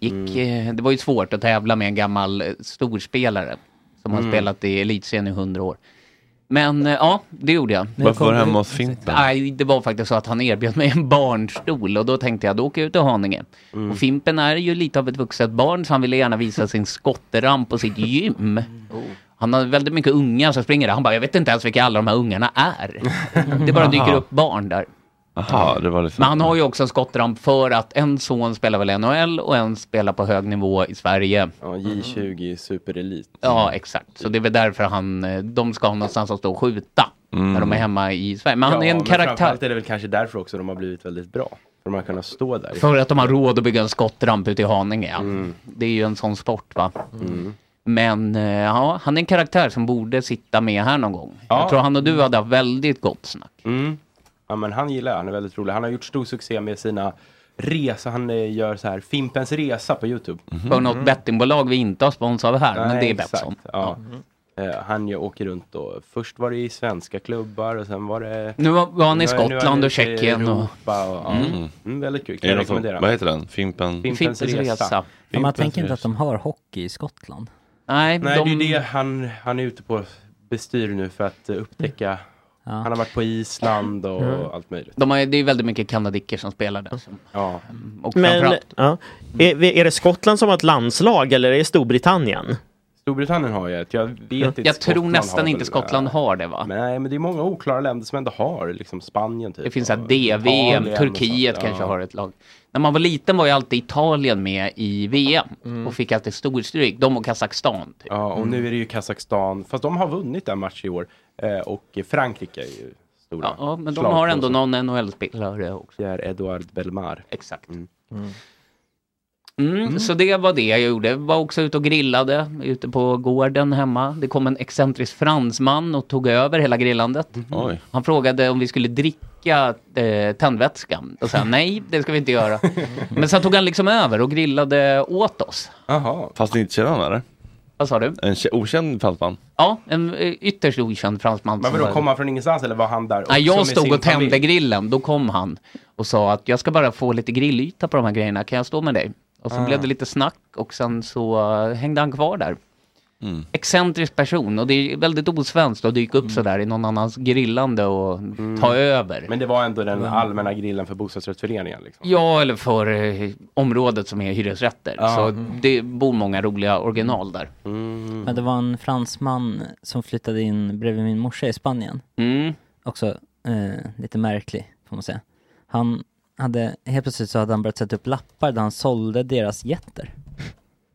[SPEAKER 7] Gick,
[SPEAKER 1] Mm.
[SPEAKER 7] eh, det var ju svårt att tävla med en gammal eh, storspelare som har
[SPEAKER 1] Mm.
[SPEAKER 7] spelat i elitserien i hundra år. Men eh, ja, det gjorde jag.
[SPEAKER 1] Varför var du hemma hos Fimpen?
[SPEAKER 7] Nej, det var faktiskt så att han erbjöd mig en barnstol och då tänkte jag, då åker jag ut till Haninge.
[SPEAKER 1] Mm.
[SPEAKER 7] Och Fimpen är ju lite av ett vuxet barn så han ville gärna visa sin skottramp och sitt gym.
[SPEAKER 1] Mm.
[SPEAKER 7] Han har väldigt mycket unga som springer där. Han bara, jag vet inte ens vilka alla de här ungarna är.
[SPEAKER 1] Mm.
[SPEAKER 7] Det bara dyker
[SPEAKER 1] Aha.
[SPEAKER 7] upp barn där.
[SPEAKER 1] Jaha, det var liksom...
[SPEAKER 7] Men han har ju också en skottramp för att en son spelar väl NHL och en spelar på hög nivå i Sverige.
[SPEAKER 6] Ja, J20 superelit.
[SPEAKER 7] Ja, exakt. Så det är väl därför han, eh, de ska ha någonstans att stå och skjuta när de är hemma i Sverige. Men han
[SPEAKER 6] Ja,
[SPEAKER 7] är en
[SPEAKER 6] men
[SPEAKER 7] karaktär.
[SPEAKER 6] framförallt är det väl kanske därför också de har blivit väldigt bra. För de har kunnat stå där.
[SPEAKER 7] För att de har råd att bygga en skottramp ute i Haninge. ja. Det är ju en sån sport va.
[SPEAKER 6] Mm.
[SPEAKER 7] Men eh, ja, han är en karaktär som borde sitta med här någon gång.
[SPEAKER 6] Ja.
[SPEAKER 7] Jag tror han och du hade haft väldigt gott snack.
[SPEAKER 6] Mm. Ja, men han gillar jag. Han är väldigt rolig. Han har gjort stor succé med sina resor. Han eh, gör så här Fimpens Resa på Youtube.
[SPEAKER 7] På något bettingbolag vi inte har spons av här, Mm. men
[SPEAKER 6] Mm. Nej,
[SPEAKER 7] det är
[SPEAKER 6] exakt.
[SPEAKER 7] Betsson.
[SPEAKER 6] Ja. Eh, Han ju åker runt och först var det i svenska klubbar och sen var det...
[SPEAKER 7] Nu var- var han i
[SPEAKER 6] nu är- nu är
[SPEAKER 7] Skottland
[SPEAKER 6] ute
[SPEAKER 7] och Tjeckien och-
[SPEAKER 6] Europa och... Ja.
[SPEAKER 1] Mm.
[SPEAKER 6] Mm. väldigt kul. Kan
[SPEAKER 1] Är
[SPEAKER 6] jag
[SPEAKER 1] det någon som-
[SPEAKER 6] rekommendera.
[SPEAKER 1] Vad heter den? Fimpen?
[SPEAKER 6] Fimpens, Resa.
[SPEAKER 2] Ja, man
[SPEAKER 6] Fimpens
[SPEAKER 2] tänker inte
[SPEAKER 6] Resa.
[SPEAKER 2] att de har hockey i Skottland.
[SPEAKER 7] Nej,
[SPEAKER 6] Nej
[SPEAKER 7] de-
[SPEAKER 6] det är det han, han är ute på bestyr nu för att eh, upptäcka. Han har varit på Island och
[SPEAKER 7] Mm.
[SPEAKER 6] allt möjligt.
[SPEAKER 7] De har, det är väldigt mycket kanadicker som spelar där. som-
[SPEAKER 6] Ja.
[SPEAKER 7] Och
[SPEAKER 9] Men,
[SPEAKER 7] framförallt,
[SPEAKER 9] ja. är,
[SPEAKER 8] Mm.
[SPEAKER 9] är det Skottland som har ett landslag eller är det Storbritannien?
[SPEAKER 6] Storbritannien har ju ett. Jag vet inte.
[SPEAKER 7] jag tror
[SPEAKER 6] Skottland
[SPEAKER 7] nästan
[SPEAKER 6] har
[SPEAKER 7] inte
[SPEAKER 6] väl-
[SPEAKER 7] Skottland har det va?
[SPEAKER 6] Nej, men det är många oklara länder som ändå har, liksom Spanien typ.
[SPEAKER 7] Det finns här
[SPEAKER 6] och
[SPEAKER 7] DVM,
[SPEAKER 6] Italien och
[SPEAKER 7] Turkiet
[SPEAKER 6] sånt,
[SPEAKER 7] kanske
[SPEAKER 6] ja.
[SPEAKER 7] har ett lag. När man var liten var ju alltid Italien med i VM
[SPEAKER 6] Mm.
[SPEAKER 7] och fick alltid storstryk. De och Kazakstan.
[SPEAKER 6] Ja, och
[SPEAKER 7] Mm.
[SPEAKER 6] nu är det ju Kazakstan, fast de har vunnit en match i år. Eh, och Frankrike är ju stora.
[SPEAKER 7] Ja, men de
[SPEAKER 6] slagpåsar.
[SPEAKER 7] har ändå någon NHL-spelare också.
[SPEAKER 6] Pierre Edouard Belmar.
[SPEAKER 7] Exakt. Mm, Så det var det jag gjorde. Var också ute och grillade ute på gården hemma. Det kom en excentrisk fransman och tog över hela grillandet.
[SPEAKER 6] Mm.
[SPEAKER 1] Oj.
[SPEAKER 7] Han frågade om vi skulle dricka eh, tändvätska. Och sa jag, nej, det ska vi inte göra. Men sen tog han liksom över och grillade åt oss.
[SPEAKER 6] Jaha.
[SPEAKER 1] Fast ni inte känner honom eller?
[SPEAKER 7] Vad sa du?
[SPEAKER 1] En kä- okänd fransman?
[SPEAKER 7] Ja, en eh, ytterst okänd fransman.
[SPEAKER 6] Men
[SPEAKER 7] som
[SPEAKER 6] vadå,
[SPEAKER 7] var-
[SPEAKER 6] kom han från ingenstans eller var han där också
[SPEAKER 7] Nej,
[SPEAKER 6] med
[SPEAKER 7] jag stod
[SPEAKER 6] sin
[SPEAKER 7] och tände
[SPEAKER 6] familj?
[SPEAKER 7] grillen, då kom han och sa att jag ska bara få lite grillyta på de här grejerna, kan jag stå med dig? Och så
[SPEAKER 6] Ah.
[SPEAKER 7] blev det lite snack och sen så eh, hängde han kvar där.
[SPEAKER 1] Mm.
[SPEAKER 7] Excentrisk person och det är väldigt osvenskt att dyka upp sådär i någon annans grillande och ta över.
[SPEAKER 6] Mm. Men det var ändå den
[SPEAKER 7] Mm.
[SPEAKER 6] allmänna grillen för bostadsrättsföreningen. Liksom.
[SPEAKER 7] Ja, eller för eh, området som är hyresrätter.
[SPEAKER 6] Ja.
[SPEAKER 7] Så
[SPEAKER 6] Mm.
[SPEAKER 7] det bor många roliga original där.
[SPEAKER 2] Men det var en fransman som flyttade in bredvid min morsa i Spanien.
[SPEAKER 7] Mm.
[SPEAKER 2] Också eh, lite märklig, får man säga. Han hade, helt plötsligt så hade han börjat sätta upp lappar där han sålde deras getter.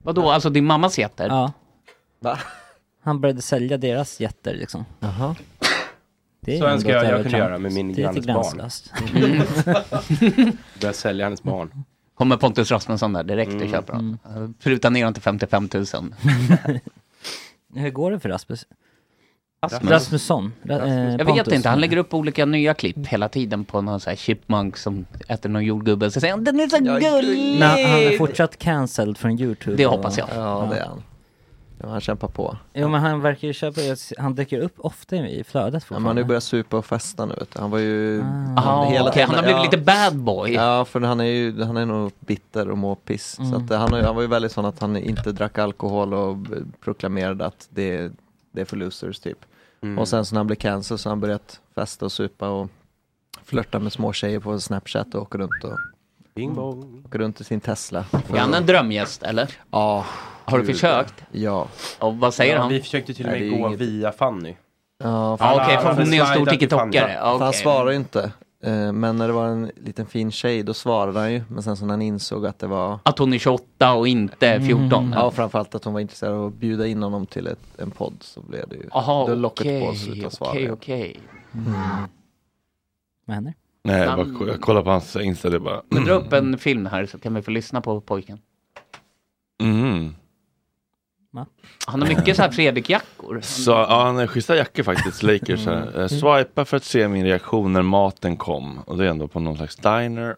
[SPEAKER 7] Vadå, alltså din mammas getter?
[SPEAKER 2] Ja.
[SPEAKER 7] Va?
[SPEAKER 2] Han började sälja deras getter liksom.
[SPEAKER 9] Jaha.
[SPEAKER 6] Så önskar jag jag kunde göra med min grannes barn.
[SPEAKER 2] gränslöst.
[SPEAKER 6] Mm. Börja sälja hennes barn.
[SPEAKER 7] Kommer Pontus Rasmusson där direkt och
[SPEAKER 6] Mm.
[SPEAKER 7] köper den. Pruta ner den till 55 000.
[SPEAKER 2] Hur går det för Rasmus? Rasmus. Rasmusson. Ra- eh,
[SPEAKER 7] Jag vet
[SPEAKER 2] Pontus.
[SPEAKER 7] inte, han lägger upp olika nya klipp hela tiden på någon sån här chipmunk som äter någon jordgubbe. Så säger han den är så gullig!
[SPEAKER 2] Nej, han är fortsatt cancelled från YouTube.
[SPEAKER 7] Det hoppas jag.
[SPEAKER 2] Ja, det är
[SPEAKER 8] han. Han kämpar på.
[SPEAKER 2] Jo men han verkar ju köpa, han dyker upp ofta i flödet
[SPEAKER 8] Ja, men han har ju börjat supa och festa nu vet du. Han var ju...
[SPEAKER 2] Ah. Ah, okej, han har blivit lite
[SPEAKER 7] bad boy.
[SPEAKER 8] Ja, för han är ju han är nog bitter och mår piss. Så
[SPEAKER 2] Mm.
[SPEAKER 8] att, eh, han, har ju- han var ju väldigt sån att han inte drack alkohol och b- proklamerade att det, är- det är för losers typ.
[SPEAKER 11] Mm.
[SPEAKER 8] Och sen så när han blev cancer så har han börjat festa och supa och flörta med små tjejer på Snapchat och åker runt och
[SPEAKER 6] Bing bong.
[SPEAKER 8] åker runt i sin Tesla.
[SPEAKER 7] Är han en drömgäst eller?
[SPEAKER 8] Ja.
[SPEAKER 7] Har du
[SPEAKER 8] Gud,
[SPEAKER 7] försökt?
[SPEAKER 8] Ja.
[SPEAKER 7] Och vad säger
[SPEAKER 6] ja,
[SPEAKER 7] han?
[SPEAKER 6] Vi försökte till och
[SPEAKER 7] Nej,
[SPEAKER 6] med
[SPEAKER 7] det är
[SPEAKER 6] gå
[SPEAKER 7] inget-
[SPEAKER 6] via Fanny.
[SPEAKER 8] Ja,
[SPEAKER 7] Ja, okej, för hon är en stor TikTokare. Ja,
[SPEAKER 8] Han
[SPEAKER 7] okej.
[SPEAKER 8] svarar ju inte. Eh, Men när det var en liten fin tjej, då svarade han ju. Men sen så när han insåg att det var...
[SPEAKER 7] Att hon är 28 och inte 14.
[SPEAKER 8] Mm. Ja, framförallt att hon var intresserad av att bjuda in honom till ett, en podd. Så blev det ju...
[SPEAKER 7] Jaha,
[SPEAKER 8] då locket
[SPEAKER 7] okej,
[SPEAKER 8] på att sluta svara.
[SPEAKER 7] okej,
[SPEAKER 8] igen.
[SPEAKER 7] okej.
[SPEAKER 2] Mm. Vad händer?
[SPEAKER 1] Nej, jag, bara, jag kollar på hans Insta, det är bara...
[SPEAKER 7] Men dra upp en film här så kan vi få lyssna på pojken.
[SPEAKER 1] Mm.
[SPEAKER 7] Han har mycket så här Fredrik-jackor.
[SPEAKER 1] Så, ja, han har schyssta jackor faktiskt, Lakers.
[SPEAKER 7] Mm.
[SPEAKER 1] Mm. Swipa för att se min reaktion när maten kom. Och det är ändå på någon slags diner.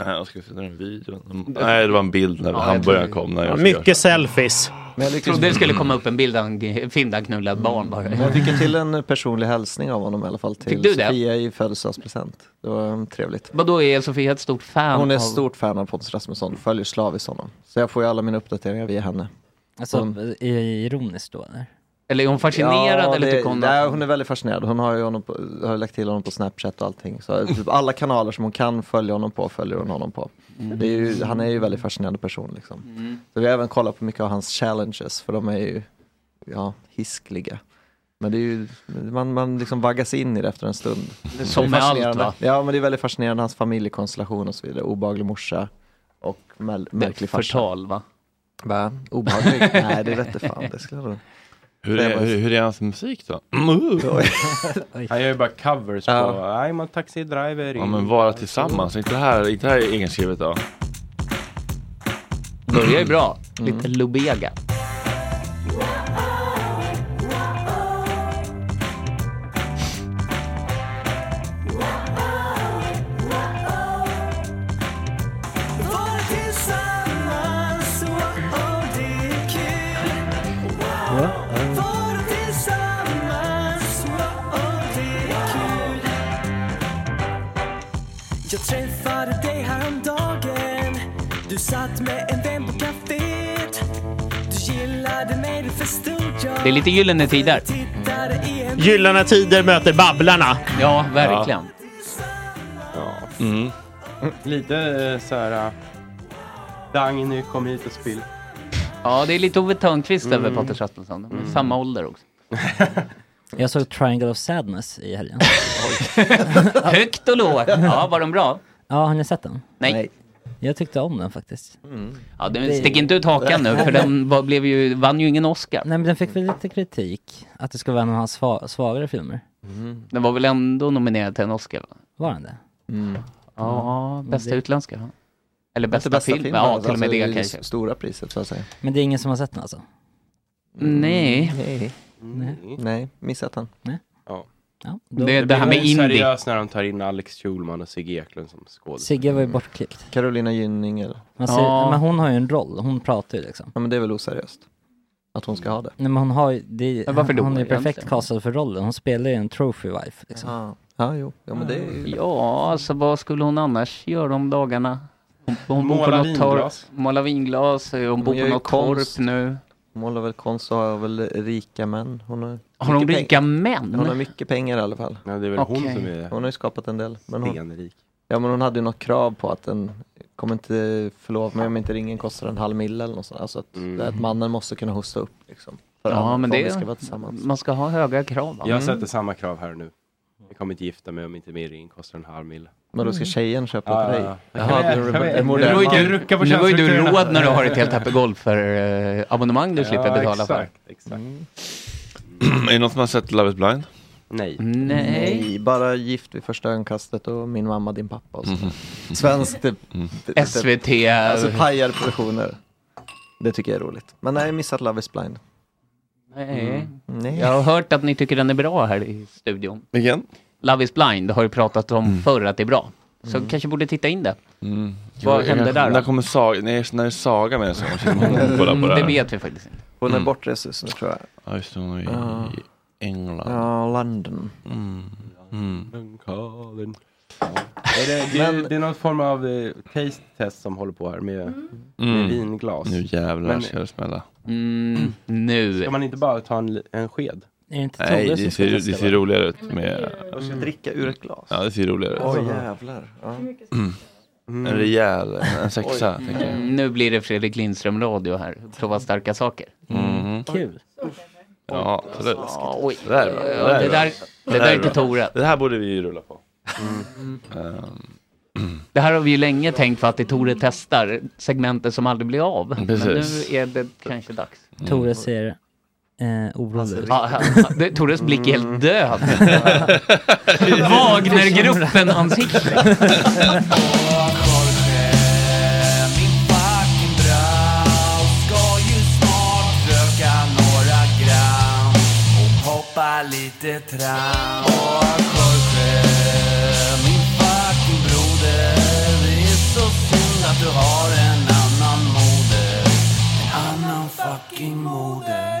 [SPEAKER 1] Eh, Jag ska se den videon. Nej, det var en bild när
[SPEAKER 7] Ja, jag tror
[SPEAKER 1] hamburgaren
[SPEAKER 7] det.
[SPEAKER 1] kom. När jag
[SPEAKER 8] mycket
[SPEAKER 7] selfies.
[SPEAKER 8] Men jag
[SPEAKER 7] jag
[SPEAKER 8] lyckas-
[SPEAKER 7] trodde det skulle komma upp en bild av en film där han knullar ett barn bara.
[SPEAKER 8] Men jag fick ju till en personlig hälsning av honom i alla fall. Till
[SPEAKER 7] Fick du det?
[SPEAKER 8] Sofia i födelsedagspresent. Det var um, trevligt.
[SPEAKER 7] Vadå, är Sofia ett stort fan?
[SPEAKER 8] Hon är
[SPEAKER 7] av-
[SPEAKER 8] ett stort fan av Pontus Rasmusson, följer slaviskt honom. Så jag får ju alla mina uppdateringar via henne.
[SPEAKER 2] Alltså,
[SPEAKER 8] Hon-
[SPEAKER 2] är jag ironiskt då eller?
[SPEAKER 7] Eller är hon fascinerad eller tycker hon
[SPEAKER 8] nej,
[SPEAKER 7] att-
[SPEAKER 8] hon är väldigt fascinerad. Hon har ju honom på, har lagt till honom på Snapchat och allting. Så typ alla kanaler som hon kan följa honom på följer hon honom på. Det är ju, han är ju en väldigt fascinerande person liksom. Så vi har även kollat på mycket av hans challenges för de är ju ja, hiskliga. Men det är ju, man, man liksom vaggas in i det efter en stund.
[SPEAKER 7] är som
[SPEAKER 8] Det är
[SPEAKER 7] med allt,
[SPEAKER 8] fascinerande.
[SPEAKER 7] va?
[SPEAKER 8] Ja men det är väldigt fascinerande, hans familjekonstellation och så vidare. Obehaglig morsa och mär- märklig farsa.
[SPEAKER 7] Förtal va?
[SPEAKER 8] Va? Obehaglig? Nej det vete fan, det skulle jag nog-
[SPEAKER 1] Hur är, hur, hur är hans musik då?
[SPEAKER 6] Han gör ju bara covers på
[SPEAKER 1] Ja.
[SPEAKER 6] I'm a taxi driver.
[SPEAKER 1] Ja, men vara tillsammans. Inte det här, inte det här är egenskrivet då.
[SPEAKER 7] Börjar ju bra.
[SPEAKER 8] Mm.
[SPEAKER 7] Lite Lubega.
[SPEAKER 12] Jag träffade dig häromdagen Du satt med en vän på caféet Du gillade mig, du förstod jag
[SPEAKER 7] Det är lite Gyllene Tider.
[SPEAKER 12] Tittade i en
[SPEAKER 8] Gyllene Tider möter Babblarna.
[SPEAKER 7] Ja, verkligen.
[SPEAKER 6] Ja. Lite eh, så här... eh, Dang, nu kom hit och spill.
[SPEAKER 7] Ja, det är lite Ove Thörnqvist över
[SPEAKER 6] Mm.
[SPEAKER 7] Pontus Rasmusson. De är
[SPEAKER 6] Mm.
[SPEAKER 7] samma ålder också.
[SPEAKER 2] Jag såg Triangle of Sadness i helgen.
[SPEAKER 7] Högt och lågt. Ja, var de bra?
[SPEAKER 2] Ja, har ni sett den?
[SPEAKER 7] Nej. Nej.
[SPEAKER 2] Jag tyckte om den faktiskt.
[SPEAKER 7] Ja, den
[SPEAKER 2] Det-
[SPEAKER 7] stick inte ut hakan nu för den var, blev ju, vann ju ingen Oscar.
[SPEAKER 2] Nej men den fick väl lite kritik, att det skulle vara en av hans sva- svagare filmer.
[SPEAKER 7] Den var väl ändå nominerad till en Oscar? Va?
[SPEAKER 2] Var den det?
[SPEAKER 7] Ja,
[SPEAKER 2] Men
[SPEAKER 7] bästa
[SPEAKER 2] det-
[SPEAKER 7] utländska. va? Eller
[SPEAKER 8] Inte
[SPEAKER 7] bästa, film. Ja, till och med
[SPEAKER 8] alltså,
[SPEAKER 7] det kanske.
[SPEAKER 8] är Stora priset så att säga.
[SPEAKER 2] Men det är ingen som har sett den alltså?
[SPEAKER 7] Nej.
[SPEAKER 8] Nej.
[SPEAKER 2] Nej.
[SPEAKER 6] Mm.
[SPEAKER 8] Nej, missat han.
[SPEAKER 2] Nej.
[SPEAKER 6] Ja.
[SPEAKER 2] Ja, då-
[SPEAKER 7] Det, det här med indie.
[SPEAKER 6] seriöst när de tar in Alex Schulman och Sigge Eklund som skådespelare.
[SPEAKER 2] Sigge var ju bortklippt.
[SPEAKER 8] Carolina Gynning eller?
[SPEAKER 2] Man ser,
[SPEAKER 8] Ja.
[SPEAKER 2] Men hon har ju en roll, hon pratar ju liksom.
[SPEAKER 8] Ja men det är väl oseriöst? Att hon ska ha det?
[SPEAKER 2] Nej men hon har ju, det,
[SPEAKER 8] Men varför då
[SPEAKER 2] hon är ju perfekt
[SPEAKER 8] egentligen?
[SPEAKER 2] castad för rollen, hon spelar ju en trophy wife liksom.
[SPEAKER 8] Ja, ja jo, ja men det är ju...
[SPEAKER 7] Ja, alltså vad skulle hon annars göra om dagarna? Hon, hon bor på
[SPEAKER 8] Måla
[SPEAKER 7] något torp.
[SPEAKER 8] vinglas.
[SPEAKER 7] Måla vinglas. eh, Hon bor på
[SPEAKER 8] gör ju
[SPEAKER 7] något torp
[SPEAKER 8] konst.
[SPEAKER 7] nu.
[SPEAKER 8] Hon målar väl konst och har väl rika män. Hon har,
[SPEAKER 7] Har hon
[SPEAKER 8] mycket
[SPEAKER 7] rika
[SPEAKER 8] pengar.
[SPEAKER 7] män?
[SPEAKER 8] Hon har mycket pengar i alla fall.
[SPEAKER 6] Ja, det är väl hon Okej. som är
[SPEAKER 8] Hon har ju skapat en del. Men hon,
[SPEAKER 6] stenrik.
[SPEAKER 8] ja men hon hade ju något krav på att den kommer inte förlova mig om inte ringen kostar en halv mille eller något sånt. Alltså att, det är att mannen måste kunna hosta upp liksom. För
[SPEAKER 7] Ja,
[SPEAKER 8] att-
[SPEAKER 7] men
[SPEAKER 8] för att
[SPEAKER 7] det-
[SPEAKER 8] vi ska vara tillsammans.
[SPEAKER 7] Man ska ha höga krav. va?
[SPEAKER 6] Jag sätter samma krav här nu. Jag kommer inte gifta mig om inte min ring kostar en halv mil. Mm.
[SPEAKER 8] Men då ska tjejen köpa
[SPEAKER 6] Ja,
[SPEAKER 8] till dig?
[SPEAKER 6] ja, ja.
[SPEAKER 8] Jaha,
[SPEAKER 6] Kan vi-
[SPEAKER 8] nu är
[SPEAKER 6] kan vi-
[SPEAKER 8] det- är modern
[SPEAKER 6] Nu var ju
[SPEAKER 8] man.
[SPEAKER 6] du- rucka på
[SPEAKER 7] Nu har ju du
[SPEAKER 6] känslorna.
[SPEAKER 7] råd när du har ett helt Happy Golf för eh, abonnemang du slipper betala för.
[SPEAKER 6] exakt, Exakt.
[SPEAKER 1] är det någon som har sett Love is blind?
[SPEAKER 6] Nej.
[SPEAKER 7] Nej.
[SPEAKER 8] Bara gift vid första ögonkastet och min mamma, din pappa och sådär. Svenskt. typ-
[SPEAKER 6] Mm.
[SPEAKER 8] typ-
[SPEAKER 7] SVT.
[SPEAKER 6] Alltså,
[SPEAKER 8] Alltså pajade produktioner. Det tycker jag är roligt. Men nej, jag har missat Love is blind.
[SPEAKER 7] Nej.
[SPEAKER 9] Mm. Nej.
[SPEAKER 7] Jag har hört att ni tycker den är bra här i studion.
[SPEAKER 1] Vilken?
[SPEAKER 7] Love is blind har ju pratat om förr att det är bra. Så kanske borde titta in det.
[SPEAKER 1] Mm.
[SPEAKER 7] Vad
[SPEAKER 1] Jag-
[SPEAKER 7] hände
[SPEAKER 1] jag-
[SPEAKER 7] där
[SPEAKER 1] När
[SPEAKER 7] då?
[SPEAKER 1] kommer Saga, när är, när är Saga med så hon kollar på
[SPEAKER 7] Mm,
[SPEAKER 1] det
[SPEAKER 7] det
[SPEAKER 1] här.
[SPEAKER 7] vet vi faktiskt inte.
[SPEAKER 9] Hon är
[SPEAKER 1] Mm.
[SPEAKER 9] borta just nu tror jag.
[SPEAKER 1] Ja, just det, hon är i
[SPEAKER 9] Ja.
[SPEAKER 1] England.
[SPEAKER 9] Ja, London.
[SPEAKER 1] Mm.
[SPEAKER 6] Är det, det, är- det är någon form av eh, taste test som håller på här med,
[SPEAKER 1] Mm.
[SPEAKER 6] med vinglas.
[SPEAKER 1] Nu jävlar
[SPEAKER 6] Men-
[SPEAKER 1] ska det smälla.
[SPEAKER 7] nu.
[SPEAKER 6] Ska man inte bara ta en, li- en sked?
[SPEAKER 2] Är det inte
[SPEAKER 1] Nej, det ser, det ser roligare ut med...
[SPEAKER 6] Jag ska dricka ur ett glas.
[SPEAKER 1] Ja, det ser roligare ut.
[SPEAKER 9] Åh jävlar. Ja.
[SPEAKER 1] En rejäl, en sexa. tänker jag.
[SPEAKER 7] Mm, Nu blir det Fredrik Lindström-radio här. Prova starka saker.
[SPEAKER 1] Mm.
[SPEAKER 6] Kul.
[SPEAKER 1] Ja, så det,
[SPEAKER 7] Ja, oj.
[SPEAKER 1] det där är bra.
[SPEAKER 7] Ja, det där- det där är till Tore.
[SPEAKER 1] Det här borde vi ju rulla på. Ehm,
[SPEAKER 7] Det här har vi ju länge tänkt för att det Tore testar segmentet som aldrig blir av. Men
[SPEAKER 2] Precis.
[SPEAKER 7] nu är det kanske dags.
[SPEAKER 8] Mm.
[SPEAKER 2] Tore ser eh,
[SPEAKER 8] Alltså,
[SPEAKER 2] orolig ut.
[SPEAKER 7] Ja, det- Tores blick är helt död. Wagnergruppen-ansikte.
[SPEAKER 12] Hoppa lite tram Och Jorge, min fucking broder Det är så synd att du har en annan moder En annan fucking moder